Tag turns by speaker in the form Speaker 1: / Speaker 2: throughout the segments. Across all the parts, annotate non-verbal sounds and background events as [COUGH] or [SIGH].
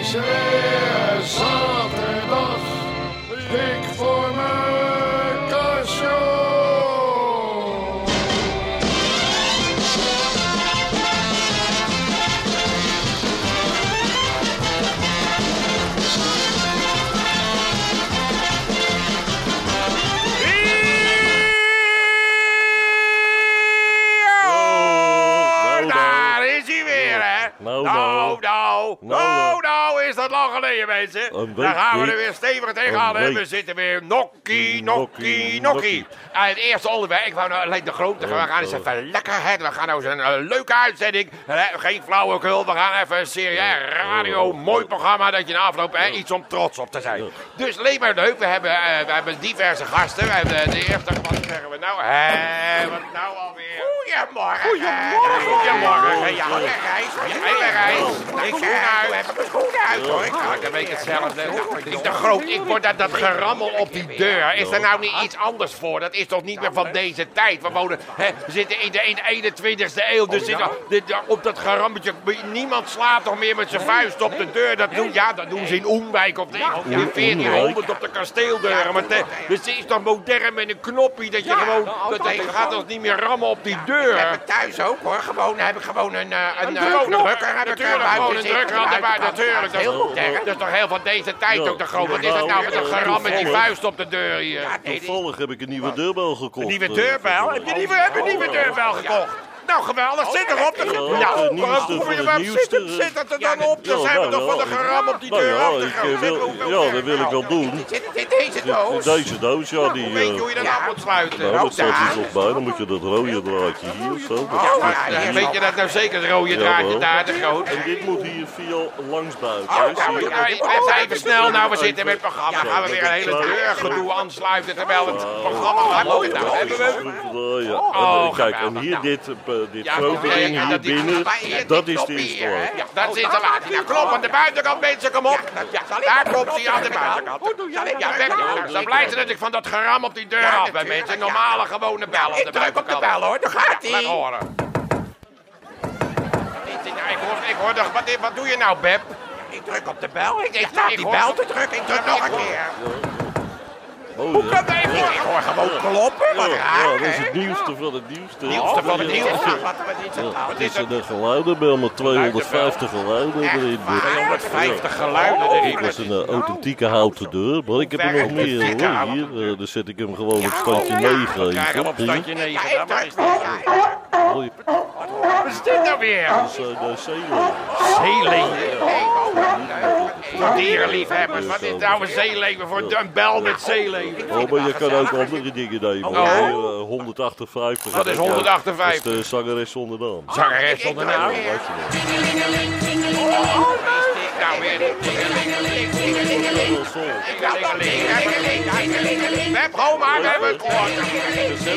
Speaker 1: is weer zaterdag. Dik voor mijn kastje.
Speaker 2: Nou, nou.
Speaker 1: Daar is hij weer, hè?
Speaker 2: Nou,
Speaker 1: nou,
Speaker 2: nou.
Speaker 1: nou,
Speaker 2: Nou,
Speaker 1: nou,
Speaker 2: nou.
Speaker 1: nou, is dat lang geleden, mensen.
Speaker 2: Een
Speaker 1: Daar
Speaker 2: week
Speaker 1: gaan we er
Speaker 2: niet.
Speaker 1: weer stevig tegenaan, hè?
Speaker 2: Een
Speaker 1: We
Speaker 2: week.
Speaker 1: zitten weer nokkie, nokkie, nokkie.
Speaker 2: Nokkie, nokkie.
Speaker 1: En het eerste onderwerp, ik wou nou alleen de grote, we gaan eens even lekkerheid, we gaan nou eens een eh, leuke uitzending. Hè, Geen flauwekul, we gaan even een serieus radio, mooi programma dat je na afloop hè, iets om trots op te zijn. Dus Lemer Leuk, we hebben, eh, we hebben diverse gasten. En eh, de eerste, wat zeggen we nou? Hé, wat nou alweer? Goedemorgen. Goedemorgen. Goedemorgen. Ja, lekker reis. Lekker reis. Ik zeg, nou, heb ik mijn schoenen uit hoor. Ik had een beetje hetzelfde. Nou, Het is te groot. Ik word dat, dat gerammel op die deur. Is er nou niet iets anders voor? Dat is toch niet meer van deze tijd? We wonen, hè, we zitten in de, in de 21ste eeuw. Dus zit al- dit- op dat gerammetje. Niemand slaat toch meer met zijn vuist op de deur. Dat doen, ja, dat doen ze in Oemwijk op de, in 1400 op de kasteeldeuren. Maar te- dus het is toch modern met een knoppie dat je gewoon... Dat je gaat als niet meer rammen op die deur.
Speaker 3: Ik heb het thuis ook hoor. Gewoon heb ik gewoon een, eh, een, eh,
Speaker 1: Gewoon een
Speaker 3: drukker. Heb ik
Speaker 1: Natuurlijk,
Speaker 3: eh,
Speaker 1: gewoon een
Speaker 3: buiten zitten.
Speaker 1: drukker aan de buiten.
Speaker 3: Buitenkant.
Speaker 1: Natuurlijk, dat
Speaker 3: Dat is heel
Speaker 1: is,
Speaker 3: modern.
Speaker 1: dat is toch heel van deze tijd
Speaker 2: Ja.
Speaker 1: ook de groot. Wat is dat nou met een geram met die
Speaker 2: Toevallig.
Speaker 1: vuist op de deur hier?
Speaker 3: Nee, die-
Speaker 2: Toevallig heb ik een nieuwe deurbel gekocht.
Speaker 1: Een nieuwe
Speaker 2: eh,
Speaker 1: deurbel?
Speaker 2: vandaag.
Speaker 1: Heb je nieuwe, heb je nieuwe deurbel gekocht? Nou, geweldig. Zit erop. Dan-
Speaker 2: Ja, het
Speaker 1: Nou,
Speaker 2: nieuwste
Speaker 1: waarom kom
Speaker 2: van
Speaker 1: je
Speaker 2: het
Speaker 1: waar-
Speaker 2: nieuwste.
Speaker 1: zit het- Zit het er dan op? Dan
Speaker 2: Ja,
Speaker 1: zijn we
Speaker 2: nou
Speaker 1: toch van
Speaker 2: ja,
Speaker 1: de geram op die
Speaker 2: Nou
Speaker 1: deur
Speaker 2: ja,
Speaker 1: af te
Speaker 2: ik, eh,
Speaker 1: gaan.
Speaker 2: wil, ja, dat wil ik wel doen.
Speaker 3: Zit het in deze doos?
Speaker 2: Deze doos, ja, die...
Speaker 1: Weet je Nou, hoe
Speaker 2: eh,
Speaker 1: je dat
Speaker 3: Ja.
Speaker 1: af moet sluiten?
Speaker 2: nou, dat staat
Speaker 3: daar?
Speaker 2: hier toch bij. Dan moet je dat rode draadje hier of zo. dat-
Speaker 3: Ja,
Speaker 1: Nou,
Speaker 3: ja,
Speaker 1: eh,
Speaker 3: hier
Speaker 1: Weet
Speaker 3: al.
Speaker 1: je dat nou zeker het rode
Speaker 2: Ja,
Speaker 1: draadje
Speaker 2: wel.
Speaker 1: daar te groot?
Speaker 2: En dit moet hier via langs buiten.
Speaker 1: Oh,
Speaker 2: hè, zie
Speaker 1: nou,
Speaker 2: je?
Speaker 1: ja, even, even snel, nou, we zitten met het programma. Gaan we weer een hele deurgedoe aansluiten terwijl we
Speaker 3: Oh.
Speaker 1: het programma gaat
Speaker 2: Ja,
Speaker 1: lopen. Nou,
Speaker 2: dat
Speaker 1: hebben
Speaker 2: is
Speaker 1: we...
Speaker 2: goed, eh, ja.
Speaker 1: Oh,
Speaker 2: En, eh, Kijk, en
Speaker 1: geweldig,
Speaker 2: hier
Speaker 1: nou.
Speaker 2: dit, eh, dit
Speaker 1: Ja,
Speaker 2: grote
Speaker 1: ja, ja,
Speaker 2: ding
Speaker 1: ja,
Speaker 2: hier
Speaker 1: dat die-
Speaker 2: binnen,
Speaker 1: maar hier, die
Speaker 2: dat is de
Speaker 1: knop hier,
Speaker 2: installatie.
Speaker 1: Ja, dat is de laatste. Nou, klop aan de buitenkant, mensen, kom op. Ja, daar komt hij aan de buitenkant. Ja, weg. Ja, Dan blijft het natuurlijk van dat geram op die deur af bij
Speaker 3: natuurlijk,
Speaker 1: mensen.
Speaker 3: ja.
Speaker 1: Normale, gewone bel op de
Speaker 3: Ik druk op de
Speaker 1: buitenkant.
Speaker 3: bel hoor. Daar gaat
Speaker 1: Laat
Speaker 3: hij.
Speaker 1: horen. Ja, ik hoor, ik hoor, de- wat, wat doe je nou, Beb?
Speaker 3: Ik druk op de bel. Ik, ik
Speaker 1: Ja,
Speaker 3: sta
Speaker 1: ik
Speaker 3: op die
Speaker 1: hoor-
Speaker 3: bel te drukken. Ik druk nog een keer.
Speaker 2: Oh,
Speaker 1: Hoe
Speaker 2: ja.
Speaker 1: kan dat even? Ik hoor gewoon
Speaker 3: Ook kloppen. Wat
Speaker 2: Ja, ja,
Speaker 3: raar
Speaker 2: dat is
Speaker 3: hè?
Speaker 2: het nieuwste van het nieuwste.
Speaker 1: Nieuwste van het
Speaker 2: Ja,
Speaker 1: nieuwste.
Speaker 2: ja.
Speaker 3: Wat er met iets aan de hand
Speaker 2: Het
Speaker 3: is.
Speaker 2: is een geluidenbel met 250 geluiden erin.
Speaker 3: waar?
Speaker 1: 250 geluiden Oh,
Speaker 2: Dit
Speaker 1: erin.
Speaker 2: was een eh, authentieke houten deur, maar ik heb er nog meer hoor. Hier, eh, dan zet ik hem gewoon
Speaker 1: oh,
Speaker 2: op standje 9.
Speaker 1: We krijgen hem op standje
Speaker 3: Oh. Ja,
Speaker 1: 9.
Speaker 3: ik
Speaker 1: Daar is
Speaker 3: druk.
Speaker 1: die.
Speaker 3: Ja, ja.
Speaker 1: Wat is dit nou weer?
Speaker 2: eh,
Speaker 1: Oh, Zeeleeuwen. Voor dierenliefhebbers. Wat is nou een zeeleeuwen voor een bel met zeeleeuwen?
Speaker 2: Oh, maar je kan ook andere dingen nemen. hoor.
Speaker 1: Oh.
Speaker 2: Eh, 158.
Speaker 1: Dat is Oh,
Speaker 2: Ja,
Speaker 1: 158.
Speaker 2: Dat is de zangeres zonder naam.
Speaker 1: Zangeres zonder naam.
Speaker 2: Weet je wel.
Speaker 1: Is dit nou weer?
Speaker 2: Dat is vol.
Speaker 1: Web, hou maar, we hebben het gehoord.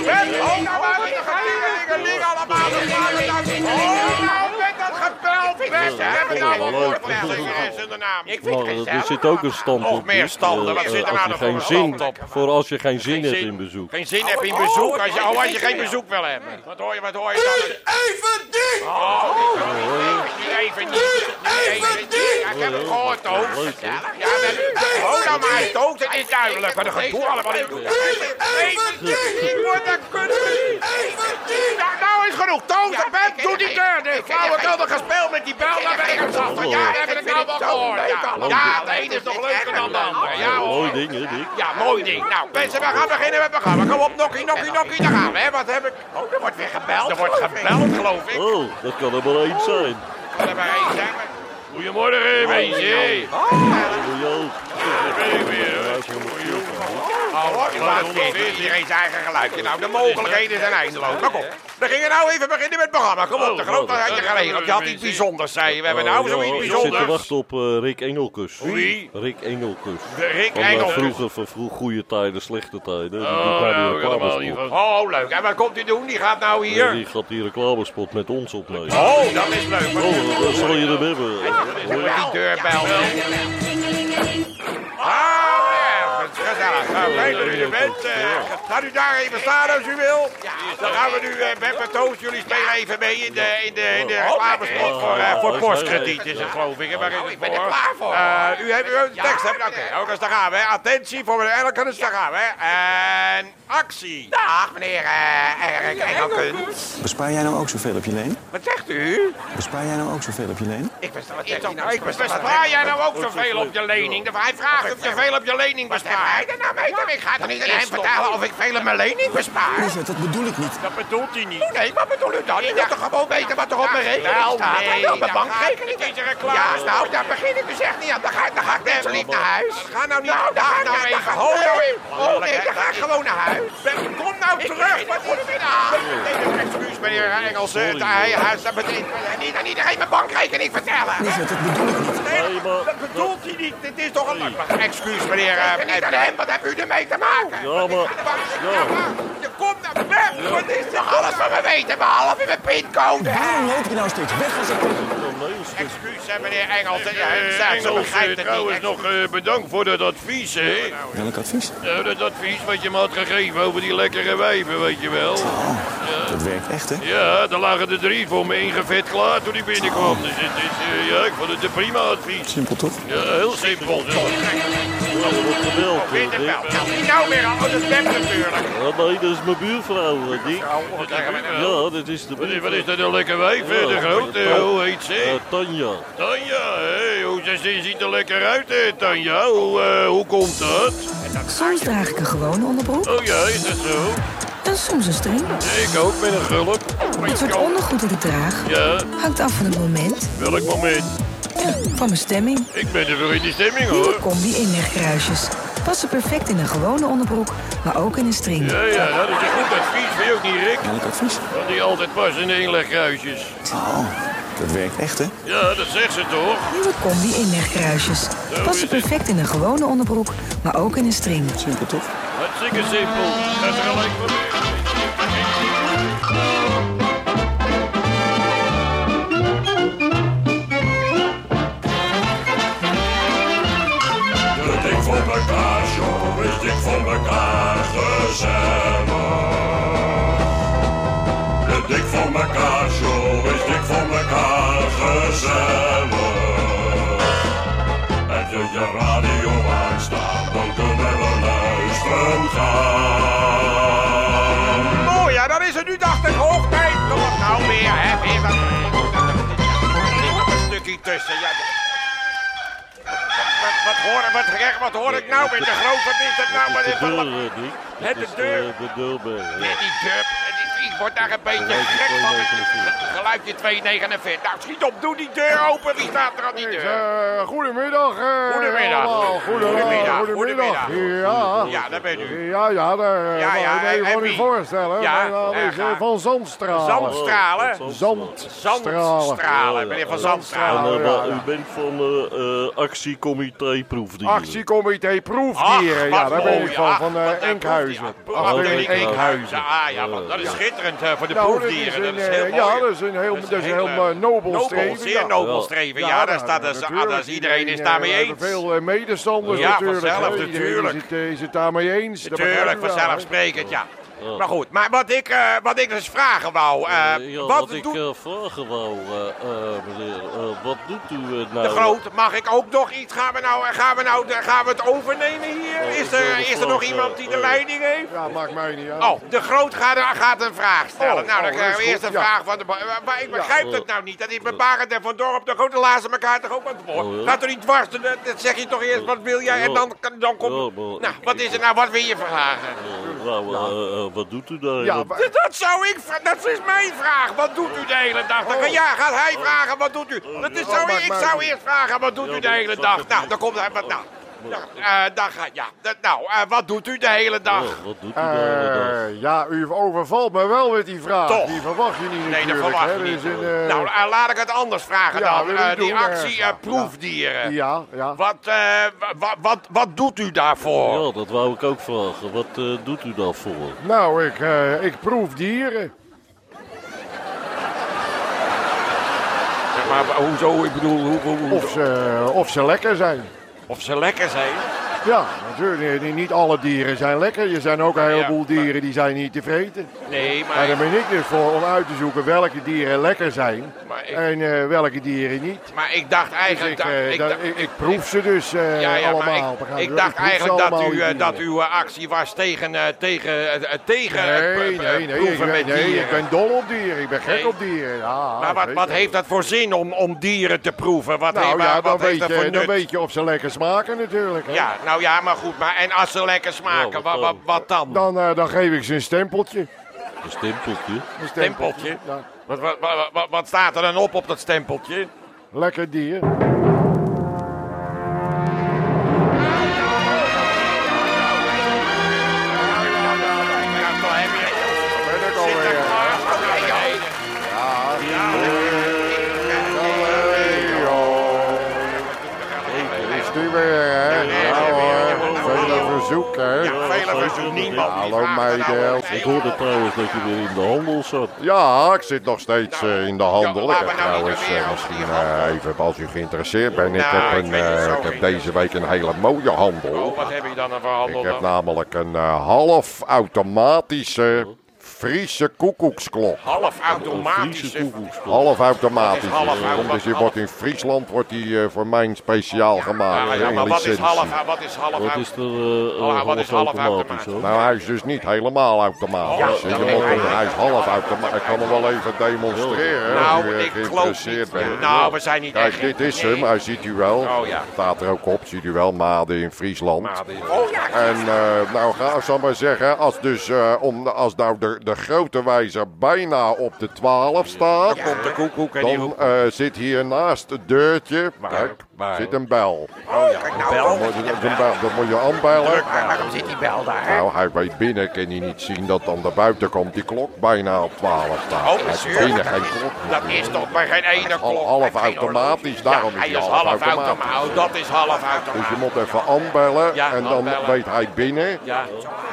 Speaker 1: Web,
Speaker 3: Oh,
Speaker 1: hou nou maar, we gaan dingelingeling allemaal. We gaan het nou doen. Oh, nou met dat gebeld. Web, we hebben nou wel gehoord van de zangeres zonder naam.
Speaker 3: Ik vind
Speaker 2: Maar
Speaker 3: het
Speaker 2: eh,
Speaker 3: gezellig.
Speaker 2: er zit ook een stand op.
Speaker 1: Nog meer standen,
Speaker 2: dit,
Speaker 1: wat
Speaker 2: eh,
Speaker 1: zit er
Speaker 2: als
Speaker 1: nou
Speaker 2: je
Speaker 1: nog
Speaker 2: geen
Speaker 1: voor
Speaker 2: zin,
Speaker 1: stand op?
Speaker 2: Voor als je geen zin hebt
Speaker 1: zin-
Speaker 2: in bezoek.
Speaker 1: Geen zin heb je in bezoek. Als je, oh, als je geen bezoek wil hebben. Wat hoor je, wat hoor je dan?
Speaker 4: Even dit!
Speaker 1: Niet even niet. Niet even niet. Ja, Ik heb het gehoord, Toos.
Speaker 2: Leuk, hè?
Speaker 1: Ja, maar hou nou maar, Toos. Het is duidelijk. Wat een gedoe allemaal. Ik
Speaker 4: Even dit!
Speaker 1: word daar kunnen.
Speaker 4: Even dit!
Speaker 1: Nou, nou is genoeg. Toos, de bed, doe die deur dicht. Flauwekul, dat gespeeld met die bel. Daar ben ik aan zat. Ja, dat heb ik nou wel gehoord. Ja, Ja, de ene is nog leuker dan de andere. Ja, hoor.
Speaker 2: Mooi ding, hè, Eh, Dick?
Speaker 1: Ja, mooi ding. Nou, mensen, we gaan beginnen met het programma. Kom op, nokkie, nokkie, nokkie. Daar gaan we, hè. Wat heb ik?
Speaker 3: Oh, er wordt weer gebeld.
Speaker 1: Er wordt gebeld, geloof ik.
Speaker 2: Oh, dat kan er maar één zijn.
Speaker 1: Kan er maar één zijn. maar- Goedemorgen, mensen.
Speaker 2: Doe je ook.
Speaker 1: Oh, laat iedereen zijn eigen geluidje. Nou, de mogelijkheden zijn eindeloos. Maar kom, we gingen nou even beginnen met het programma. Kom op, de grote had je geregeld. Je had iets bijzonders, zei je. We hebben nou zoiets
Speaker 2: Ik zit te
Speaker 1: bijzonders.
Speaker 2: wachten op eh, Rick Engelkus.
Speaker 1: Wie?
Speaker 2: Rick Engelkus.
Speaker 1: Rick
Speaker 2: Van eh,
Speaker 1: Engel.
Speaker 2: vroeger, van vroeg goede tijden, slechte tijden. Die
Speaker 1: Oh,
Speaker 2: doet daar die
Speaker 1: nou, helemaal
Speaker 2: reclamespot.
Speaker 1: niet goed. Oh, leuk. En wat komt hij doen? Die gaat nou
Speaker 2: Eh,
Speaker 1: hier.
Speaker 2: Die gaat die reclamespot met ons opnemen.
Speaker 1: Oh, dat is leuk. Maar
Speaker 2: Oh, dat zal je hem hebben.
Speaker 1: met die deurbel. Ah, ja, dat is gezellig. Ja, fijn dat u er bent. Eh, gaat u daar even staan als u wil. Dan gaan we nu eh Beb en Toos, jullie spelen even mee in de, in de, in de
Speaker 3: Oh,
Speaker 1: reclamespot voor, eh, voor postkrediet is het geloof ik. hè, waar is het
Speaker 3: ik ben er
Speaker 1: voor?
Speaker 3: klaar voor.
Speaker 1: Eh, u heeft u heeft de tekst, hè? Oké, ook eens daar gaan we. hè. Attentie voor meneer Elkens, daar gaan we. hè. En actie.
Speaker 3: Dag, meneer eh Erik Engelkens.
Speaker 5: Bespaar jij nou ook zoveel op je leen?
Speaker 3: Wat zegt u?
Speaker 5: Bespaar jij nou ook zoveel op je leen?
Speaker 3: Ik ben wat zegt u nou?
Speaker 1: Ik bespaar jij nou ook zoveel op je lening? Hij vraagt of je veel op je lening
Speaker 3: Hij
Speaker 1: bespaart.
Speaker 3: er nou mee? Ik ga toch niet aan hem
Speaker 1: Stop.
Speaker 3: vertellen of ik veel aan mijn lening bespaar?
Speaker 5: Lieverd, dat bedoel ik niet.
Speaker 1: Dat Oh, bedoelt hij niet.
Speaker 3: Nee, wat bedoel u dan? Ik wil toch gewoon weten wat er op mijn rekening
Speaker 1: Nou,
Speaker 3: staat?
Speaker 1: nee,
Speaker 3: Ik wil mijn
Speaker 1: dan
Speaker 3: bankrekening
Speaker 1: gaat- het is een reclame.
Speaker 3: Ja, nou, daar begin ik dus echt niet aan. Dan ga, dan ga ik net zo lief naar huis. Ga nou niet. Nou, daar,
Speaker 1: nou
Speaker 3: daar,
Speaker 1: even.
Speaker 3: daar-
Speaker 1: Hou nou even.
Speaker 3: Oh, nee, dan ga ik gewoon naar huis.
Speaker 1: Kom nou terug.
Speaker 3: Wat moet ik weer aan?
Speaker 1: Nee, excuus meneer Engels. eh,
Speaker 2: Sorry,
Speaker 1: Hij,
Speaker 2: man.
Speaker 1: hij, dat betekent...
Speaker 3: Niet aan iedereen mijn bankrekening vertellen.
Speaker 5: Lieverd, dat bedoel ik niet.
Speaker 2: Nee, maar-
Speaker 1: Dat bedoelt hij niet. Dit is toch een
Speaker 2: Nee.
Speaker 1: lak- Excuus meneer... eh,
Speaker 3: En niet aan hem, wat hebben u ermee te maken?
Speaker 2: Ja, maar... Ja,
Speaker 3: Je komt naar weg. Wat is dit? Alles van me weten, behalve mijn pincode.
Speaker 5: Waarom loop je nou steeds weg als ik...
Speaker 1: Excuus hè, meneer Engels. eh,
Speaker 6: Eh,
Speaker 1: Ze ze
Speaker 6: Engels, eh,
Speaker 1: begrijpt het
Speaker 6: trouwens
Speaker 1: niet.
Speaker 6: nog eh, bedankt voor dat advies, hè?
Speaker 5: Welk advies?
Speaker 6: Nou, dat advies wat je me had gegeven over die lekkere wijven, weet je wel.
Speaker 5: Dat werkt echt, hè?
Speaker 6: Ja, daar lagen er drie voor me ingevet klaar toen die binnenkwam. Dus het is, eh, ja, ik vond het een prima advies.
Speaker 5: Simpel, toch?
Speaker 6: Ja, heel simpel.
Speaker 2: dat wordt gebeld, eh,
Speaker 1: Witte
Speaker 2: Dick.
Speaker 1: bel. Nou weer al. Dat is Beb natuurlijk.
Speaker 2: Ja, nee, dat is mijn buurvrouw, eh, Dick.
Speaker 1: Oh, kijk, maar-
Speaker 2: Ja, dat is
Speaker 6: Wat is,
Speaker 2: de
Speaker 6: wat
Speaker 1: nou.
Speaker 2: buurvrouw.
Speaker 6: is dat een lekker wijf, hè? de grote? Hoe heet ze?
Speaker 2: Eh, Tanja.
Speaker 6: Tanja, hé, hoe ze, ze ziet er lekker uit, hè, Tanja. Hoe, eh, hoe komt dat?
Speaker 7: Soms draag ik een gewone onderbroek
Speaker 6: Oh ja, is dat zo?
Speaker 7: en soms een string.
Speaker 6: Nee, ik ook, met een gulp.
Speaker 7: Het soort ondergoed dat ik draag
Speaker 6: Ja,
Speaker 7: hangt af van het moment,
Speaker 6: welk moment?
Speaker 7: ja, van mijn stemming.
Speaker 6: Ik ben er weer in de stemming
Speaker 7: Nieuwe
Speaker 6: hoor.
Speaker 7: combi inlegkruisjes. Passen perfect in een gewone onderbroek, maar ook in een string.
Speaker 6: Ja, ja, dat is een goed advies, vind je ook niet, Rick?
Speaker 5: Welk advies?
Speaker 6: Want die altijd pas in inlegruisjes.
Speaker 5: Oh, dat werkt echt, hè?
Speaker 6: Ja, dat zegt ze toch?
Speaker 7: Nieuwe combi inlegkruisjes. Passen perfect in een gewone onderbroek, maar ook in een string.
Speaker 5: Simpel, toch?
Speaker 6: Hartstikke simpel. Dat is er gelijk voor weer.
Speaker 8: De dik voor elkaar, show is dik voor elkaar, gezellig. De dik voor elkaar, show is dik voor elkaar, gezellig. Heb je je radio aanstaan, dan kunnen we luisteren gaan.
Speaker 1: Oh ja, dan is het nu dacht ik hoogtijd. Kom op nou weer, hè. Weer dat... Er zat een stukje tussen, ja. Wat, wat, hoor, wat, wat hoor ik nou met de groot? Wat is dat nou? Wat
Speaker 2: De
Speaker 1: is dat?
Speaker 2: deur, eh, Dick.
Speaker 1: Hè,
Speaker 2: Dat
Speaker 1: de
Speaker 2: is eh,
Speaker 1: deur.
Speaker 2: De deurbel.
Speaker 1: Met die dub. En Ik, ik word daar een beetje gek van. Het Geluidje 249. Nou, schiet op. Doe die deur open. Wie staat er aan die deur?
Speaker 9: goedemiddag. eh,
Speaker 1: Goedemiddag.
Speaker 9: allemaal.
Speaker 1: Goedemiddag.
Speaker 9: Goedemiddag. Goedemiddag. Ja.
Speaker 1: Ja, daar bent u.
Speaker 9: Ja, ja, daar
Speaker 1: Ja,
Speaker 9: ja,
Speaker 1: ja, en-
Speaker 9: ja, ik
Speaker 1: en
Speaker 9: voor u
Speaker 1: wie?
Speaker 9: voorstellen.
Speaker 1: Ja,
Speaker 9: Ja, dat
Speaker 1: en
Speaker 9: is eh,
Speaker 1: ga-
Speaker 9: van Zandstralen.
Speaker 1: Zandstralen.
Speaker 9: Zandstralen.
Speaker 1: Zandstralen. Meneer van Zandstralen.
Speaker 9: Zandstralen.
Speaker 2: Oh, En, eh, maar
Speaker 9: ja.
Speaker 2: U bent van eh, eh, actiecomité proefdieren.
Speaker 9: Actiecomité Proefdieren.
Speaker 1: Ach, wat
Speaker 9: ja, daar ben
Speaker 1: mooi.
Speaker 9: ik van,
Speaker 1: Ach,
Speaker 9: van eh,
Speaker 1: wat, eh,
Speaker 9: Enkhuizen.
Speaker 1: proefdier. Ah,
Speaker 9: Afdeling
Speaker 1: Afdeling Enkhuizen.
Speaker 9: Enkhuizen.
Speaker 1: Ah ja, want dat is schitterend eh, voor de
Speaker 9: Nou, dat is
Speaker 1: proefdieren.
Speaker 9: een,
Speaker 1: Dat is heel
Speaker 9: eh, ja,
Speaker 1: mooi.
Speaker 9: dat is een heel, dat is een heel
Speaker 1: hele
Speaker 9: eh, nobel
Speaker 1: nobel,
Speaker 9: streven.
Speaker 1: Zeer
Speaker 9: ja. nou,
Speaker 1: nobel streven. Ja, daar staat dus, ah,
Speaker 9: natuurlijk.
Speaker 1: dat is iedereen is
Speaker 9: eh,
Speaker 1: daarmee
Speaker 9: we hebben
Speaker 1: eens.
Speaker 9: Veel eh, medestanders
Speaker 1: Ja,
Speaker 9: natuurlijk.
Speaker 1: vanzelf,
Speaker 9: hè. Iedereen
Speaker 1: natuurlijk.
Speaker 9: Is het, eh, is het daarmee eens? Dat
Speaker 1: Tuurlijk,
Speaker 9: begrijpen we wel, hè.
Speaker 1: vanzelfsprekend, ja. Maar goed, maar wat ik, eh, wat ik dus vragen wou, eh,
Speaker 2: Eh, ja,
Speaker 1: wat
Speaker 2: wat ik
Speaker 1: doet
Speaker 2: eh, vragen wou, eh, eh, meneer, eh, wat doet u eh, nou?
Speaker 1: de groot? Mag ik ook nog iets? Gaan we nou, gaan we nou, gaan we het overnemen hier?
Speaker 2: Oh,
Speaker 1: Is
Speaker 2: ik wil
Speaker 1: er,
Speaker 2: de
Speaker 1: is er
Speaker 2: groot,
Speaker 1: nog
Speaker 2: eh,
Speaker 1: iemand die de
Speaker 2: eh,
Speaker 1: leiding heeft?
Speaker 9: Ja, maakt mij niet uit.
Speaker 1: Oh, de groot gaat, gaat een vraag stellen.
Speaker 9: Oh,
Speaker 1: nou,
Speaker 9: oh,
Speaker 1: dan krijgen we
Speaker 9: dat is
Speaker 1: eerst een
Speaker 9: goed, ja.
Speaker 1: vraag van de... bo- Maar, maar ik begrijp
Speaker 2: Ja.
Speaker 1: dat nou niet. Dat is met Barend en Van Dorp de grote lazen elkaar toch ook aan het woord.
Speaker 2: Oh, ja.
Speaker 1: Gaat er niet dwars. Dan, eh, Dat zeg je toch eerst, wat wil jij? En dan, dan komt...
Speaker 2: Ja, maar
Speaker 1: nou,
Speaker 2: ik-
Speaker 1: wat
Speaker 2: ik-
Speaker 1: is er nou? Wat wil je vragen?
Speaker 2: Eh, nou, eh, eh, wat doet u daar?
Speaker 9: Ja,
Speaker 2: Wat-
Speaker 9: maar-
Speaker 1: Dat- Dat zou ik vragen. Dat is mijn vraag. Wat doet u de hele dag? Dan,
Speaker 9: Oh.
Speaker 1: ga- ja, gaat hij vragen, wat doet u? Dat is, zou, ik zou eerst vragen, wat doet u de hele dag? Nou, dan komt hij... Wat, nou, nou, eh, dan gaat... Ja, dat, nou, eh, wat doet u de hele
Speaker 9: Oh.
Speaker 1: dag?
Speaker 2: Ja, wat doet u daar?
Speaker 9: Eh, ja, u overvalt me wel met die vraag.
Speaker 1: Toch.
Speaker 9: Die verwacht je
Speaker 1: Nee,
Speaker 9: niet
Speaker 1: dat
Speaker 9: natuurlijk.
Speaker 1: verwacht
Speaker 9: hè.
Speaker 1: je
Speaker 9: Er
Speaker 1: niet.
Speaker 9: is een, eh,
Speaker 1: nou, eh, laat ik het anders vragen
Speaker 9: ja,
Speaker 1: dan.
Speaker 9: wil
Speaker 1: Eh,
Speaker 9: ik
Speaker 1: die
Speaker 9: doen,
Speaker 1: actie
Speaker 9: eh,
Speaker 1: eh, proefdieren.
Speaker 9: ja, ja.
Speaker 1: Wat, eh, wa- wa- wat, wat doet u daarvoor?
Speaker 2: Ja, dat wou ik ook vragen. Wat eh, doet u daarvoor?
Speaker 9: Nou, ik, eh, ik proef dieren.
Speaker 1: Zeg maar, wa- hoezo? Ik bedoel, hoe, hoe- hoe-
Speaker 9: Of ze, of ze lekker zijn.
Speaker 1: of ze lekker zijn.
Speaker 9: Ja, natuurlijk. Nee, Niet alle dieren zijn lekker. Er zijn ook een heleboel
Speaker 1: maar-
Speaker 9: dieren die zijn niet te vreten.
Speaker 1: Nee,
Speaker 9: Maar daar
Speaker 1: maar,
Speaker 9: ben ik dus voor om uit te zoeken welke dieren lekker zijn
Speaker 1: Maar ik-
Speaker 9: en eh, welke dieren niet.
Speaker 1: maar ik dacht
Speaker 9: Dus
Speaker 1: eigenlijk...
Speaker 9: ik,
Speaker 1: dat-
Speaker 9: eh,
Speaker 1: ik
Speaker 9: dat-
Speaker 1: dacht-
Speaker 9: ik, ik proef ze dus eh,
Speaker 1: Ja, ja, maar
Speaker 9: allemaal.
Speaker 1: ik,
Speaker 9: Begrijp je
Speaker 1: ik
Speaker 9: wel?
Speaker 1: dacht
Speaker 9: proef ze
Speaker 1: eigenlijk dat,
Speaker 9: allemaal,
Speaker 1: u,
Speaker 9: die
Speaker 1: eh, dat
Speaker 9: dieren.
Speaker 1: uw eh, actie was tegen, eh, tegen, eh, eh, tegen eh,
Speaker 9: Nee,
Speaker 1: p- p-
Speaker 9: nee, nee.
Speaker 1: proeven
Speaker 9: ik,
Speaker 1: met
Speaker 9: ben, nee
Speaker 1: dieren.
Speaker 9: ik ben dol op dieren. Ik ben gek
Speaker 1: Nee.
Speaker 9: op dieren. Ja,
Speaker 1: maar wat,
Speaker 9: weet
Speaker 1: wat
Speaker 9: je.
Speaker 1: heeft dat voor zin om, om dieren te proeven? Wat,
Speaker 9: Nou
Speaker 1: heeft,
Speaker 9: ja,
Speaker 1: wat
Speaker 9: dan,
Speaker 1: heeft
Speaker 9: weet
Speaker 1: dat voor
Speaker 9: je, dan
Speaker 1: nut?
Speaker 9: weet je of ze lekker smaken natuurlijk. Hè?
Speaker 1: Ja, nou ja, maar goed. Maar, en als ze lekker smaken,
Speaker 2: Ja,
Speaker 1: wat,
Speaker 2: wat
Speaker 1: wat,
Speaker 2: dan?
Speaker 1: wat dan?
Speaker 9: Dan, eh, dan geef ik ze een stempeltje.
Speaker 2: Een stempeltje.
Speaker 9: Een
Speaker 1: Stempeltje?
Speaker 9: Ja,
Speaker 1: Wat, wat, wat, wat- wat staat er dan op op dat stempeltje?
Speaker 9: lekker dier. Oh, Is die weer, hè? Nou hoor, vele verzoeken.
Speaker 1: Ja, vele verzoeken. Niemand die
Speaker 9: Hallo
Speaker 1: vraagt er nou
Speaker 9: meiden.
Speaker 1: om.
Speaker 2: Ik hoorde trouwens dat je weer in de handel zat.
Speaker 9: Ja, ik zit nog steeds eh, in de handel.
Speaker 1: Nou, Ja,
Speaker 9: Ik
Speaker 1: laten we
Speaker 9: heb
Speaker 1: nou niet
Speaker 9: trouwens
Speaker 1: meer
Speaker 9: eh,
Speaker 1: over die
Speaker 9: misschien
Speaker 1: handel.
Speaker 9: eh, even, als u geïnteresseerd bent, ik
Speaker 1: Nou, ik
Speaker 9: heb, een,
Speaker 1: weet het
Speaker 9: eh,
Speaker 1: zo
Speaker 9: ik heb
Speaker 1: niet.
Speaker 9: deze week een hele mooie handel.
Speaker 1: Oh, wat heb je dan aan
Speaker 9: Ik
Speaker 1: verhandeld?
Speaker 9: heb
Speaker 1: dan?
Speaker 9: namelijk een eh, half-automatische Friese koekoeksklok.
Speaker 1: Half
Speaker 2: Friese
Speaker 1: automatische.
Speaker 2: koekoekspel.
Speaker 9: Half-automatisch.
Speaker 1: Wat is half-
Speaker 9: eh,
Speaker 1: wat-
Speaker 9: Dus die
Speaker 1: half-
Speaker 9: wordt in Friesland wordt die eh, voor mij speciaal gemaakt.
Speaker 1: Ah, Ja,
Speaker 9: eh,
Speaker 1: ja,
Speaker 9: in
Speaker 1: maar wat is
Speaker 9: licentie.
Speaker 1: half, wat is half
Speaker 2: Wat is er eh,
Speaker 1: Hallo,
Speaker 2: eh,
Speaker 1: wat is
Speaker 2: half
Speaker 1: half
Speaker 2: automatisch hoor?
Speaker 9: Nou, hij is dus niet helemaal automatisch.
Speaker 1: Ja,
Speaker 9: hè.
Speaker 1: dat
Speaker 9: je
Speaker 1: weet
Speaker 9: moet
Speaker 1: ik.
Speaker 9: hem- hij is half automatisch. Ik kan hem wel even demonstreren. als
Speaker 1: Nou,
Speaker 9: u, eh,
Speaker 1: ik geloof
Speaker 9: geïnteresseerd
Speaker 1: niet.
Speaker 9: bent.
Speaker 1: Nou, we zijn niet
Speaker 9: Kijk,
Speaker 1: echt.
Speaker 9: dit is
Speaker 1: Nee.
Speaker 9: hem. Hij ziet u wel.
Speaker 1: Oh, ja.
Speaker 9: Staat er ook op. Ziet u wel. Maden in Friesland.
Speaker 1: Oh ja,
Speaker 9: En eh, nou, ga, zal maar zeggen, als, dus, eh, om, als nou de, de grote wijzer bijna op de 12 staat,
Speaker 1: komt de koekoek en die
Speaker 9: dan eh, zit hier naast het deurtje kijk,
Speaker 1: waar?
Speaker 9: zit een bel.
Speaker 1: Oh,
Speaker 3: Kijk nou,
Speaker 9: Dan moet je, dat is een bel. Dat moet je aanbellen.
Speaker 3: maar waarom zit die bel daar? hè?
Speaker 9: Nou, hij weet binnen kan hij niet zien dat aan de buiten komt die klok bijna op 12 staat.
Speaker 1: Oh,
Speaker 9: Hij heeft
Speaker 1: natuurlijk.
Speaker 9: binnen geen klok.
Speaker 1: Dat is toch bij geen ene
Speaker 9: Al-
Speaker 1: klok.
Speaker 9: half
Speaker 1: en geen
Speaker 9: automatisch,
Speaker 1: horloge.
Speaker 9: daarom
Speaker 1: Ja,
Speaker 9: is
Speaker 1: hij
Speaker 9: hij
Speaker 1: is
Speaker 9: half
Speaker 1: half
Speaker 9: automatisch.
Speaker 1: automatisch. Oh, Dat is half
Speaker 9: Dus je
Speaker 1: automatisch.
Speaker 9: moet even aanbellen
Speaker 1: Ja,
Speaker 9: en dan
Speaker 1: aanbellen.
Speaker 9: weet hij binnen,
Speaker 1: Ja.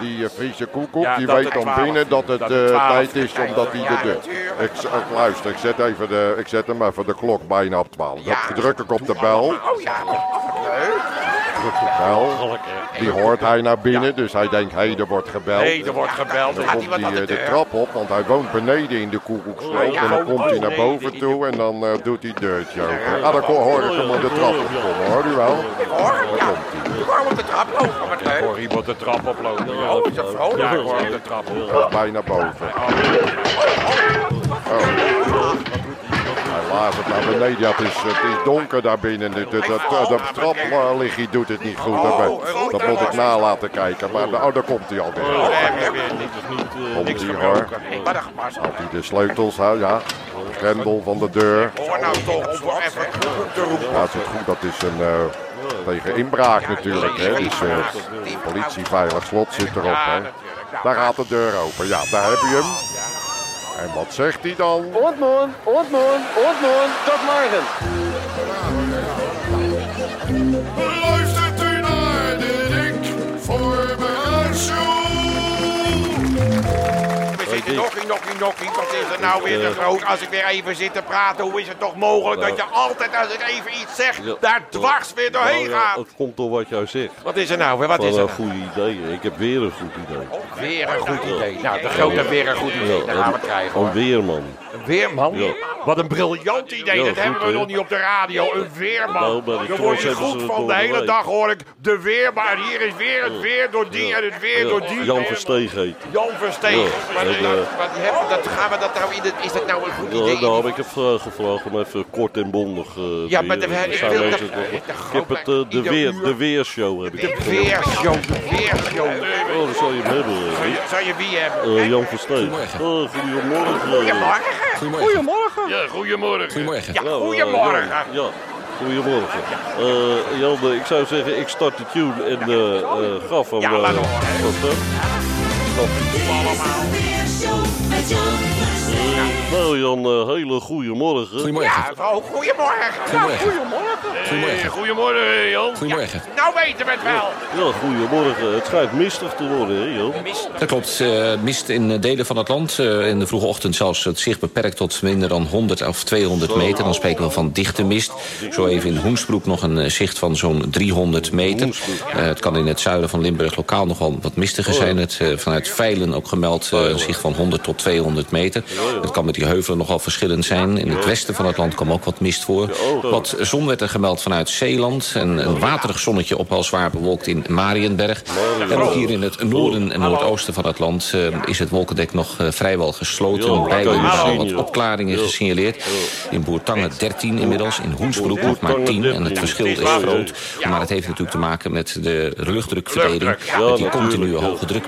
Speaker 9: die eh, Friese koekoek,
Speaker 1: Ja,
Speaker 9: die
Speaker 1: dat
Speaker 9: weet
Speaker 1: het
Speaker 9: dan
Speaker 1: 12
Speaker 9: binnen dat het
Speaker 1: dat het
Speaker 9: eh,
Speaker 1: 12
Speaker 9: tijd is omdat hij
Speaker 1: Ja,
Speaker 9: de deur...
Speaker 1: natuurlijk.
Speaker 9: Ik, z- ik luister, ik zet, even de, ik zet hem even de klok bijna op 12. Dan druk ik op de bel.
Speaker 1: Oh ja,
Speaker 9: Druk de bel. Die hoort hij naar binnen, dus hij denkt, hé, er wordt gebeld.
Speaker 1: nee, er wordt gebeld.
Speaker 9: Dan
Speaker 1: Gaat
Speaker 9: komt
Speaker 1: iemand
Speaker 9: hij
Speaker 1: aan
Speaker 9: eh,
Speaker 1: de
Speaker 9: de
Speaker 1: deur?
Speaker 9: trap op, want hij woont beneden in de koekoeksloop.
Speaker 1: ja.
Speaker 9: En dan komt hij
Speaker 1: Oh,
Speaker 9: naar
Speaker 1: nee,
Speaker 9: boven
Speaker 1: die-
Speaker 9: toe en dan eh, doet hij het deurtje open. Ah, dan ko- hoor ik hem op de trap opkomen, hoor u wel? Dan komt hij.
Speaker 3: Waarom op de trap lopen? Wat leuk.
Speaker 1: Hoor iemand de trap oplopen. Ja,
Speaker 2: dat
Speaker 1: is Oh, dat vrolijk? Ja, ik hoor hem de trap op.
Speaker 9: Gaat bijna boven. Oh. Hij laat het naar beneden. Ja, het, is, het is donker daar binnen. De, eh, de, de, de
Speaker 1: Oh.
Speaker 9: trapligie doet het niet goed. Dat, ben- dat moet ik na laten kijken. Maar oh, daar komt hij alweer.
Speaker 1: Nee, weer, weer niet.
Speaker 2: Dat is niet... eh,
Speaker 9: Komt hij hoor.
Speaker 1: Hey, maar dat was
Speaker 9: Had hij de sleutels, hè? ja. Grendel van de deur.
Speaker 1: Hoor nou toch, om voor even koekoek te roepen.
Speaker 9: Ja, het is goed. Dat is een eh, tegen inbraak natuurlijk. Hè? Dus eh, politie, veilig slot zit erop. Hè? Daar gaat de deur open. Ja, daar heb je hem. En wat zegt hij dan?
Speaker 10: Ordmoen, Ordmoen, Ordmoen, tot morgen.
Speaker 4: Luistert u naar de Rick Voorbehuisshow.
Speaker 1: We zitten nokkie, nokkie, nokkie. Wat is er nou weer te groot? Als ik weer even zit te praten, hoe is het toch mogelijk dat je altijd als ik even iets zeg,
Speaker 2: ja.
Speaker 1: daar dwars weer doorheen
Speaker 9: Oh,
Speaker 2: Nou ja,
Speaker 1: gaat?
Speaker 2: Het komt door wat jij zegt.
Speaker 1: Wat is er nou weer? Wat is
Speaker 2: Wat
Speaker 1: er Oh,
Speaker 2: een
Speaker 1: nou?
Speaker 2: goed idee. Ik heb weer een goed idee.
Speaker 1: Weer een goed idee. Nou, de grote weer een goed idee. Dat gaan we krijgen
Speaker 2: Een
Speaker 1: hoor.
Speaker 2: weerman.
Speaker 1: Een weerman?
Speaker 2: Ja.
Speaker 1: Wat een briljant idee.
Speaker 2: Ja,
Speaker 1: Dat
Speaker 2: goed,
Speaker 1: hebben we
Speaker 2: hè?
Speaker 1: nog niet op de radio. Een
Speaker 2: Nou,
Speaker 1: weerman.
Speaker 2: bij
Speaker 1: Daar
Speaker 2: de Tros
Speaker 1: word je
Speaker 2: hebben ze
Speaker 1: goed
Speaker 2: het
Speaker 1: van. De
Speaker 2: door de
Speaker 1: hele
Speaker 2: week.
Speaker 1: dag hoor ik de weerman. En Hier is weer het weer door die
Speaker 2: Ja.
Speaker 1: en het weer door die.
Speaker 2: Jan
Speaker 1: Weerman.
Speaker 2: Versteeg heet die.
Speaker 1: Jan Versteeg.
Speaker 2: Ja.
Speaker 1: Maar
Speaker 2: En,
Speaker 1: dat-
Speaker 2: eh,
Speaker 1: wat die hebben- dat- Gaan we dat nou in? de- Is dat nou een goed idee?
Speaker 2: Ja, nou heb ik heb gevraagd om even kort en bondig eh, te
Speaker 1: Ja, maar de-
Speaker 2: hier-
Speaker 1: ik
Speaker 2: zijn
Speaker 1: wil
Speaker 2: deze
Speaker 1: dat-
Speaker 2: nog-
Speaker 1: eh,
Speaker 2: Ik
Speaker 1: dat
Speaker 2: heb het eh, de,
Speaker 1: ieder
Speaker 2: weer,
Speaker 1: uur-
Speaker 2: de Weershow. Heb ik het genoemd.
Speaker 1: Weershow, weershow.
Speaker 2: Oh, dan zal je hem hebben. eh, Rick.
Speaker 1: Zou je wie hebben?
Speaker 2: Eh, Jan Versteeg. Oh, goedemorgen. Ja,
Speaker 6: Ja, goedemorgen.
Speaker 1: Ja,
Speaker 2: eh,
Speaker 1: goedemorgen.
Speaker 2: Jan, ja, goedemorgen. Eh, Jan, eh, ik zou zeggen, ik start de tune en eh, eh, gaf hem...
Speaker 1: Ja,
Speaker 2: eh,
Speaker 1: laat horen.
Speaker 2: wat, hè?
Speaker 11: Dit is de Weershow met Jan Versteeg.
Speaker 2: Nou Jan, eh, hele goede morgen.
Speaker 5: Goedemorgen.
Speaker 1: Oh, goedemorgen.
Speaker 5: Goedemorgen.
Speaker 6: Hey,
Speaker 5: Goedemorgen.
Speaker 6: goedemorgen, eh, Jan.
Speaker 5: Goedemorgen.
Speaker 1: Nou weten we het wel.
Speaker 2: Ja, goedemorgen. Het schijnt mistig te worden, hè Jan?
Speaker 11: Dat klopt. eh, mist in eh, delen van het land. eh, in de vroege ochtend zelfs het zicht beperkt tot minder dan 100 of 200 meter. Dan spreken we van dichte mist. Zo even in Hoensbroek nog een eh, zicht van zo'n 300 meter. Eh, het kan in het zuiden van Limburg lokaal nog wel wat mistiger zijn. Het, eh, vanuit Veilen ook gemeld eh, een zicht van 100 tot 200 meter. Het kan met die heuvelen nogal verschillend zijn. In het westen van het land kwam ook wat mist voor. Wat zon werd er gemeld vanuit Zeeland. En een waterig zonnetje op al zwaar bewolkt in Marienberg. En ook hier in het noorden en noordoosten van het land eh, is het wolkendek nog eh, vrijwel gesloten.
Speaker 2: Ja,
Speaker 11: En blijven
Speaker 2: kan je
Speaker 11: er
Speaker 2: zien,
Speaker 11: wel wat
Speaker 2: joh.
Speaker 11: opklaringen gesignaleerd. In Boertangen 13 inmiddels, in Hoensbroek nog maar 10. En het verschil is groot. Maar het heeft natuurlijk te maken met de luchtdrukverdeling. Met die continue hoge druk.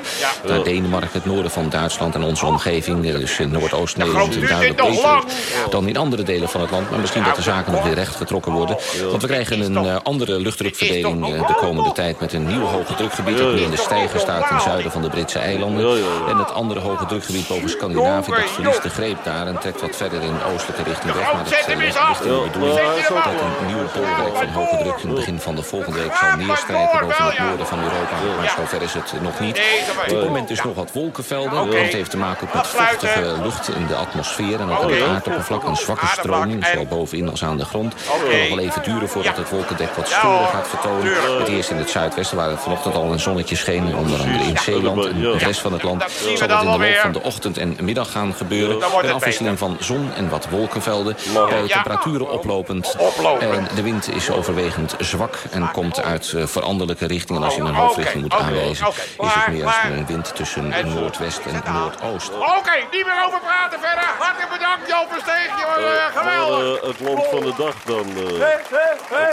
Speaker 11: Naar Denemarken, het noorden van Duitsland en onze omgeving. eh, Dus in Noordoost-Nederland en duidelijk beter dan in andere delen van het land. Maar misschien dat de zaken nog weer recht getrokken worden. Want we krijgen een eh, andere luchtdrukverdeling eh, de komende tijd... met een nieuw hoge drukgebied dat nu in de stijger staat... ten zuiden van de Britse eilanden. En het andere hoge drukgebied boven Scandinavië... dat verliest de greep daar en trekt wat verder in de oostelijke richting weg. Maar dat eh, ligt in de bedoeling dat een nieuwe bolwerk van hoge druk... in het begin van de volgende week zal neerstrijken... boven het noorden van Europa. Maar zover is het nog niet. Op dit moment is nog wat wolkenvelden. Dat heeft te maken ook met vochtige lucht in de atmosfeer... en ook aan het aardoppervlak een zwakke stroming... zowel bovenin als aan de grond. Het zal nog wel even duren voordat het wolkendek wat storen gaat vertonen. Het eerst in het zuidwesten, waar het vanochtend al een zonnetje scheen... onder andere in Zeeland en de rest van het land... zal het in de loop van de ochtend en middag gaan gebeuren. Een afwisseling van zon en wat wolkenvelden. Bij de temperaturen oplopend. En de wind is overwegend zwak en komt uit eh, veranderlijke richtingen. Als je een hoofdrichting moet aanwijzen, is het meer een wind tussen noordwest en noordoost.
Speaker 1: Oké, niet meer over praten verder. Hartelijk bedankt, Jan Versteeg. jongen. Eh,
Speaker 2: Maar,
Speaker 1: geweldig.
Speaker 2: eh, het land van de dag dan. eh.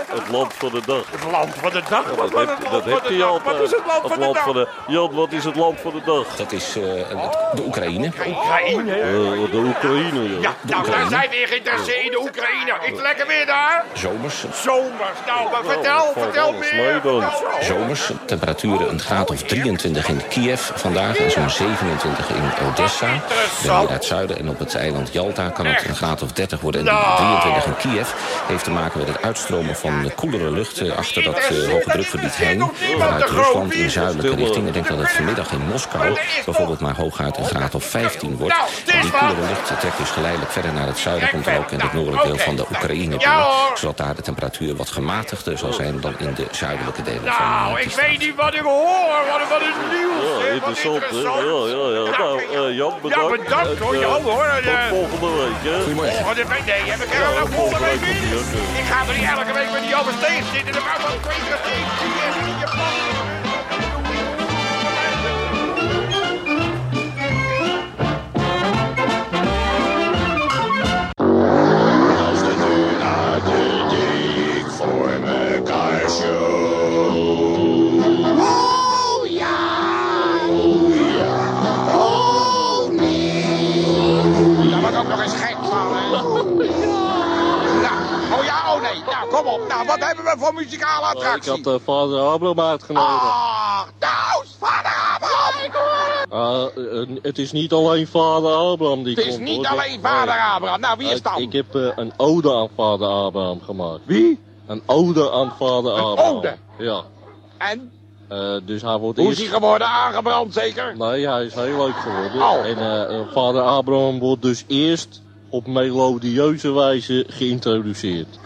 Speaker 2: het land van de dag.
Speaker 1: Het land van de dag.
Speaker 2: Dat heb, dat heb je altijd.
Speaker 1: Wat is het land van de dag?
Speaker 2: van de Jan, wat is het land van de dag?
Speaker 11: Dat is eh, het- de Oekraïne.
Speaker 1: Oh, Oekraïne.
Speaker 2: Eh, de Oekraïne, joh.
Speaker 1: Ja, nou, daar zijn we weer geïnteresseerd in de Oekraïne. Is het lekker weer daar?
Speaker 11: Zomers,
Speaker 1: Zomers. Nou, maar vertel,
Speaker 2: valt
Speaker 1: vertel
Speaker 2: alles mee
Speaker 1: meer. Nou,
Speaker 2: dan.
Speaker 1: Vertel.
Speaker 11: zomers. Temperaturen een graad of 23 in Kiev vandaag en zo'n 27 in Odessa. Dan hier uit het zuiden en op het eiland Jalta kan het een graad of 30 worden. En die 23 in Kiev heeft te maken met het uitstromen van de koelere lucht eh, achter dat eh, hoge drukgebied heen. Vanuit Rusland in zuidelijke richting. Ik denk dat het vanmiddag in Moskou bijvoorbeeld maar hooguit een graad of 15 wordt. En die koelere lucht trekt dus geleidelijk verder naar het zuiden. Komt dan ook in het noordelijk deel van de Oekraïne door. Zodat daar de temperatuur wat gematigder zal zijn dan in de zuidelijke delen van eh,
Speaker 1: Nou,
Speaker 11: het
Speaker 1: ik weet niet wat ik hoor. Wat, wat is nieuws?
Speaker 2: Ja,
Speaker 1: hè? Wat
Speaker 2: interessant, hè? Ja, ja, ja. Nou, eh, Jan, bedankt.
Speaker 1: Ja, bedankt, hoor.
Speaker 2: En, eh,
Speaker 1: Jan, hoor. Eh,
Speaker 2: Tot volgende week, hè?
Speaker 5: Goedemorgen.
Speaker 3: Oh,
Speaker 1: Wat een- nee, heb ik er nou volgende week weer? Ik ga er niet elke week met die Jan Steen zitten. Dan gaan we een tweede steen. in je plan.
Speaker 4: Luister nu naar de dik voor mekaar show. Oh ja! Oh ja! Oh nee!
Speaker 3: Daar wordt ook nog eens gek van,
Speaker 10: [LAUGHS]
Speaker 3: hè? Nou, oh ja, oh nee. Nou, kom op. Nou, wat hebben we voor muzikale
Speaker 10: Ik had
Speaker 3: attractie?
Speaker 10: de vader Abram
Speaker 2: Ah.
Speaker 10: uitgenodigd.
Speaker 3: Ach, nou, vader Abraham!
Speaker 10: Ah, eh, het is niet alleen vader Abraham die
Speaker 3: Het
Speaker 10: komt.
Speaker 3: is niet
Speaker 10: hoor.
Speaker 3: alleen vader
Speaker 10: Nee.
Speaker 3: Abraham. Nou, wie is
Speaker 10: Ik- Ik
Speaker 3: dan?
Speaker 10: heb eh, een ode aan vader Abraham gemaakt.
Speaker 3: Wie?
Speaker 10: Een ode aan vader Abraham.
Speaker 3: ode?
Speaker 10: Ja.
Speaker 3: En?
Speaker 10: Eh, dus hij wordt
Speaker 3: Hoe is
Speaker 10: eerst...
Speaker 3: hij geworden? Aangebrand zeker?
Speaker 10: Nee, hij is heel leuk geworden.
Speaker 3: Oh.
Speaker 10: En eh, eh, vader Abraham wordt dus eerst op melodieuze wijze geïntroduceerd.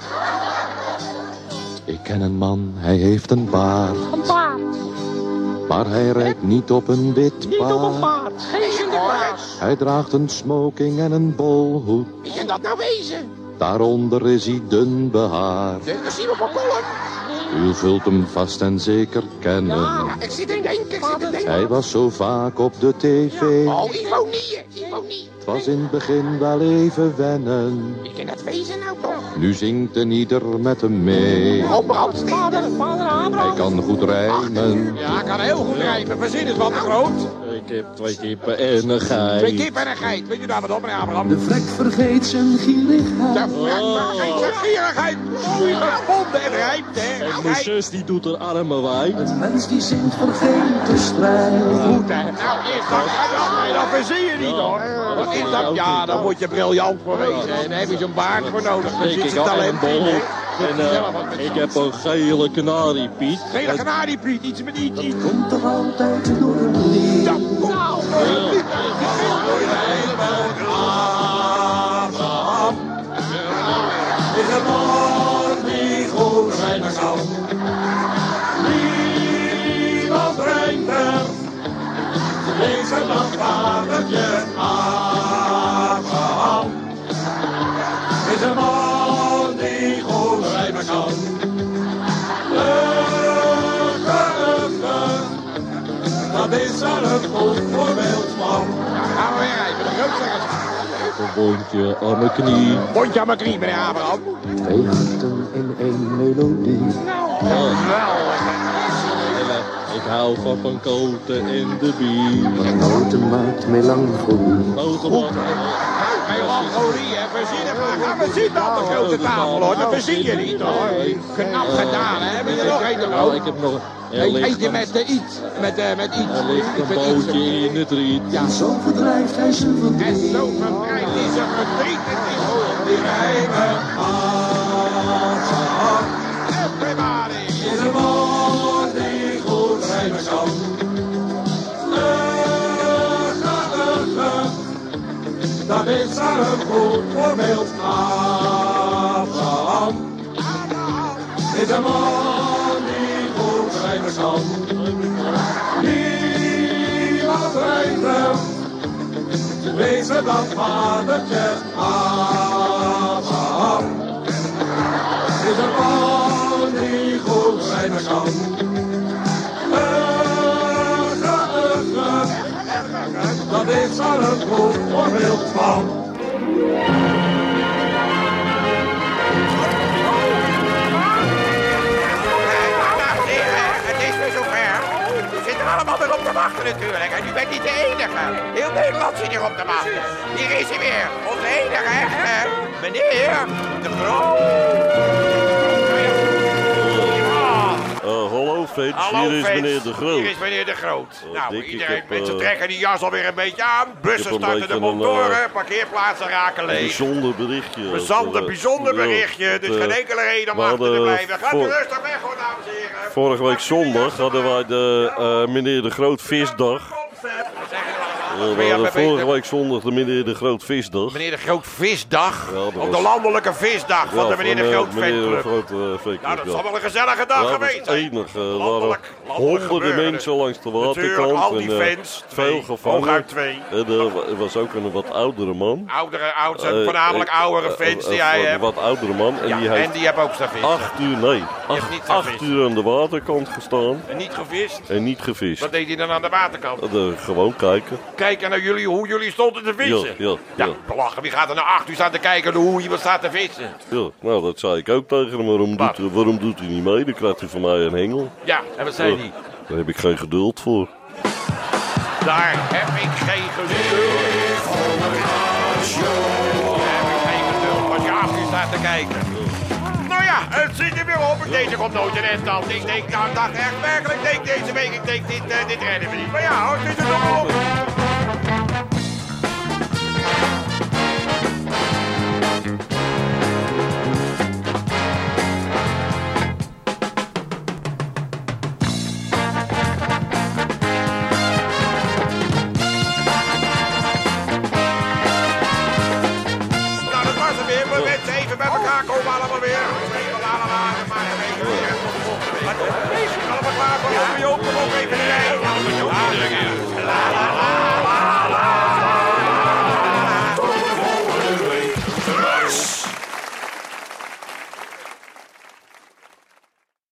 Speaker 10: Ik ken een man, hij heeft een baard. Een baard. Maar hij rijdt niet op een wit paard. Hij draagt een smoking en een bolhoed.
Speaker 3: Wie kan dat nou wezen?
Speaker 10: Daaronder is hij dun behaard.
Speaker 3: Dit is Simon van Kolm.
Speaker 10: U zult hem vast en zeker kennen.
Speaker 3: Ik zit in denken, ik zit in denken.
Speaker 10: Hij was zo vaak op de tv.
Speaker 3: Oh, Ivonie, Ivonie.
Speaker 10: Het was in het begin wel even wennen.
Speaker 3: Wie kan dat wezen nou toch?
Speaker 10: Nu zingt een ieder met hem mee.
Speaker 3: Oh, brandsteden.
Speaker 10: Hij kan goed rijmen.
Speaker 3: Ja, ik kan heel goed rijpen. Verzin het wat groot.
Speaker 10: Ik Ik heb twee kippen en een geit.
Speaker 3: Twee kippen en een geit. Weet je daar wat op, meneer Abraham?
Speaker 10: De vrek vergeet zijn gierigheid.
Speaker 3: De vrek vergeet zijn gierigheid. Mooi gevonden en rijpt, hè. Nou,
Speaker 10: En mijn zus die doet haar armen wijd.
Speaker 12: Het mens die zingt vergeet de strijd.
Speaker 3: Goed, hè. Nou, eerst dat en dan verzin je niet, hoor. Wat is dat? Ja, daar moet je briljant voor wezen. En daar heb je zo'n baard voor nodig. Daar zit je talent in, hè.
Speaker 10: En uh, ik heb een gele kanariepiet.
Speaker 3: Gele kanariepiet, iets met iets. iets.
Speaker 12: Komt er altijd door een lied.
Speaker 3: Dat komt nou door een lied.
Speaker 12: Ik heb morgen die goed zijn zal. Niemand brengt hem. Deze nacht waar het je Abraham. Is een man die goed rijden kan. Lukkig, dat is al een goed voorbeeld man.
Speaker 3: Gaan we weer rijden. De groot zeggen
Speaker 10: Een wondje aan mijn knie.
Speaker 3: Bondje aan mijn knie, meneer Abraham.
Speaker 12: Feesten in één melodie.
Speaker 10: Ja,
Speaker 3: Wel,
Speaker 10: en, eh, ik hou van van koten en de bier.
Speaker 12: Noten maakt melancholie.
Speaker 10: Notenbak.
Speaker 3: melancholie en verzinnen. Maar gaan we zien dat de grote tafel, hoor. Dat verzin je niet, hoor. Knap gedaan, hè. Heb je er nog één
Speaker 10: Nou, ik
Speaker 3: erop?
Speaker 10: heb nog er ligt
Speaker 3: Eentje
Speaker 10: een,
Speaker 3: met eh, iets. Met, eh, met iets.
Speaker 10: er ligt
Speaker 3: Iets
Speaker 10: een
Speaker 3: met iets.
Speaker 10: bootje in het riet.
Speaker 3: Ja.
Speaker 12: Zo verdrijft hij zijn
Speaker 3: En
Speaker 12: verdriet.
Speaker 3: zo verbreidt hij zijn verdriet. Het is hoog. Die rijmen. Everybody.
Speaker 12: In de morgen die goed rijden kan. Lukkig, dat is al een goed voorbeeld. Abraham. is een man die goed rijden kan. Niemand rijdt hem. Wees het dat vadertje Abraham. Is een man die goed rijden kan. Lukkig, dat is al een goed voorbeeld van.
Speaker 3: Dames en heren, het is weer zover. We zitten allemaal weer op te wachten natuurlijk. En u bent niet de enige. Heel Nederland zit hier op te wachten. Hier is hij weer. Onze enige echte. Meneer de Groot.
Speaker 2: Eh, hallo, Feets.
Speaker 1: Hallo,
Speaker 2: Hier is
Speaker 1: Frits.
Speaker 2: meneer De Groot.
Speaker 1: Hier is meneer De Groot.
Speaker 2: Oh,
Speaker 1: nou,
Speaker 2: Dick, ik
Speaker 1: iedereen,
Speaker 2: heb,
Speaker 1: mensen
Speaker 2: eh,
Speaker 1: trekken die jas alweer een beetje aan. Bussen
Speaker 2: een
Speaker 1: starten
Speaker 2: beetje
Speaker 1: de
Speaker 2: een,
Speaker 1: motoren,
Speaker 2: eh,
Speaker 1: parkeerplaatsen raken
Speaker 2: Een
Speaker 1: leeg.
Speaker 2: bijzonder berichtje.
Speaker 1: Bijzonder,
Speaker 2: Eh,
Speaker 1: bijzonder
Speaker 2: ja,
Speaker 1: berichtje. Dus
Speaker 2: het, eh,
Speaker 1: geen enkele reden om
Speaker 2: we
Speaker 1: achter te
Speaker 2: hadden
Speaker 1: blijven. Gaat u
Speaker 2: voor-
Speaker 1: rustig weg hoor, dames en heren.
Speaker 2: Vorige week zondag hadden wij de eh, meneer De Groot Visdag. Eh, we
Speaker 1: Weer
Speaker 2: hadden
Speaker 1: beter.
Speaker 2: vorige week zondag de meneer De Groot Visdag.
Speaker 1: Meneer de Groot Visdag.
Speaker 2: dat
Speaker 1: Op
Speaker 2: was-
Speaker 1: de landelijke visdag van de meneer de
Speaker 2: eh,
Speaker 1: Groot
Speaker 2: meneer De
Speaker 1: fanclub.
Speaker 2: Groot eh, fanclub,
Speaker 1: Nou, dat
Speaker 2: ja.
Speaker 1: zal wel een gezellige
Speaker 2: Ja,
Speaker 1: dag
Speaker 2: dat was
Speaker 1: geweest
Speaker 2: het
Speaker 1: zijn.
Speaker 2: enige. eh, Er waren
Speaker 1: Landelijk- landelijk
Speaker 2: honderden
Speaker 1: gebeurde.
Speaker 2: mensen langs de
Speaker 1: Natuurlijk,
Speaker 2: waterkant.
Speaker 1: al die
Speaker 2: en, eh,
Speaker 1: fans.
Speaker 2: Veel
Speaker 1: Twee,
Speaker 2: gevangen.
Speaker 1: hooguit twee.
Speaker 2: En er was ook een wat oudere man.
Speaker 1: Oudere, oud,
Speaker 2: Eh,
Speaker 1: voornamelijk
Speaker 2: eh,
Speaker 1: oudere
Speaker 2: eh,
Speaker 1: fans
Speaker 2: eh,
Speaker 1: die
Speaker 2: eh,
Speaker 1: hij
Speaker 2: Een
Speaker 1: hebt.
Speaker 2: wat oudere man. En
Speaker 1: Ja,
Speaker 2: die heeft
Speaker 1: en die hebben ook gevist.
Speaker 2: acht uur, nee,
Speaker 1: niet
Speaker 2: acht,
Speaker 1: gevist.
Speaker 2: acht uur aan de waterkant gestaan
Speaker 1: En niet gevist.
Speaker 2: en niet gevist.
Speaker 1: Wat deed hij dan aan de waterkant?
Speaker 2: Eh, gewoon kijken.
Speaker 1: Kijken naar jullie, hoe jullie stonden te vissen.
Speaker 2: Ja, ja, ja.
Speaker 1: belachen. Wie gaat er nou acht uur staan te kijken hoe iemand staat te vissen?
Speaker 2: Ja, nou, dat zei ik ook tegen hem. Waarom
Speaker 1: Wat?
Speaker 2: doet, eh, waarom doet hij niet mee? Dan krijgt hij van mij een hengel.
Speaker 1: Ja, en wat zei
Speaker 2: Ja,
Speaker 1: hij?
Speaker 2: Daar heb ik geen geduld voor.
Speaker 1: Daar heb ik geen geduld voor. Daar heb ik geen geduld als je af je staat te kijken. Nou ja, het zit er weer op. Deze komt nooit een end dan. Ik denk, nou, dag echt werkelijk. Denk deze week, ik denk, dit, eh, dit redden we niet. Maar ja, hoor, het zit er nog op. Nou, dat was het weer. We mensen even bij elkaar komen allemaal weer. Even laten laten, maar een beetje weer. Maar toch, wees je allemaal klaar voor de op. Kom op even in de rij. La, la, la, la, la, la,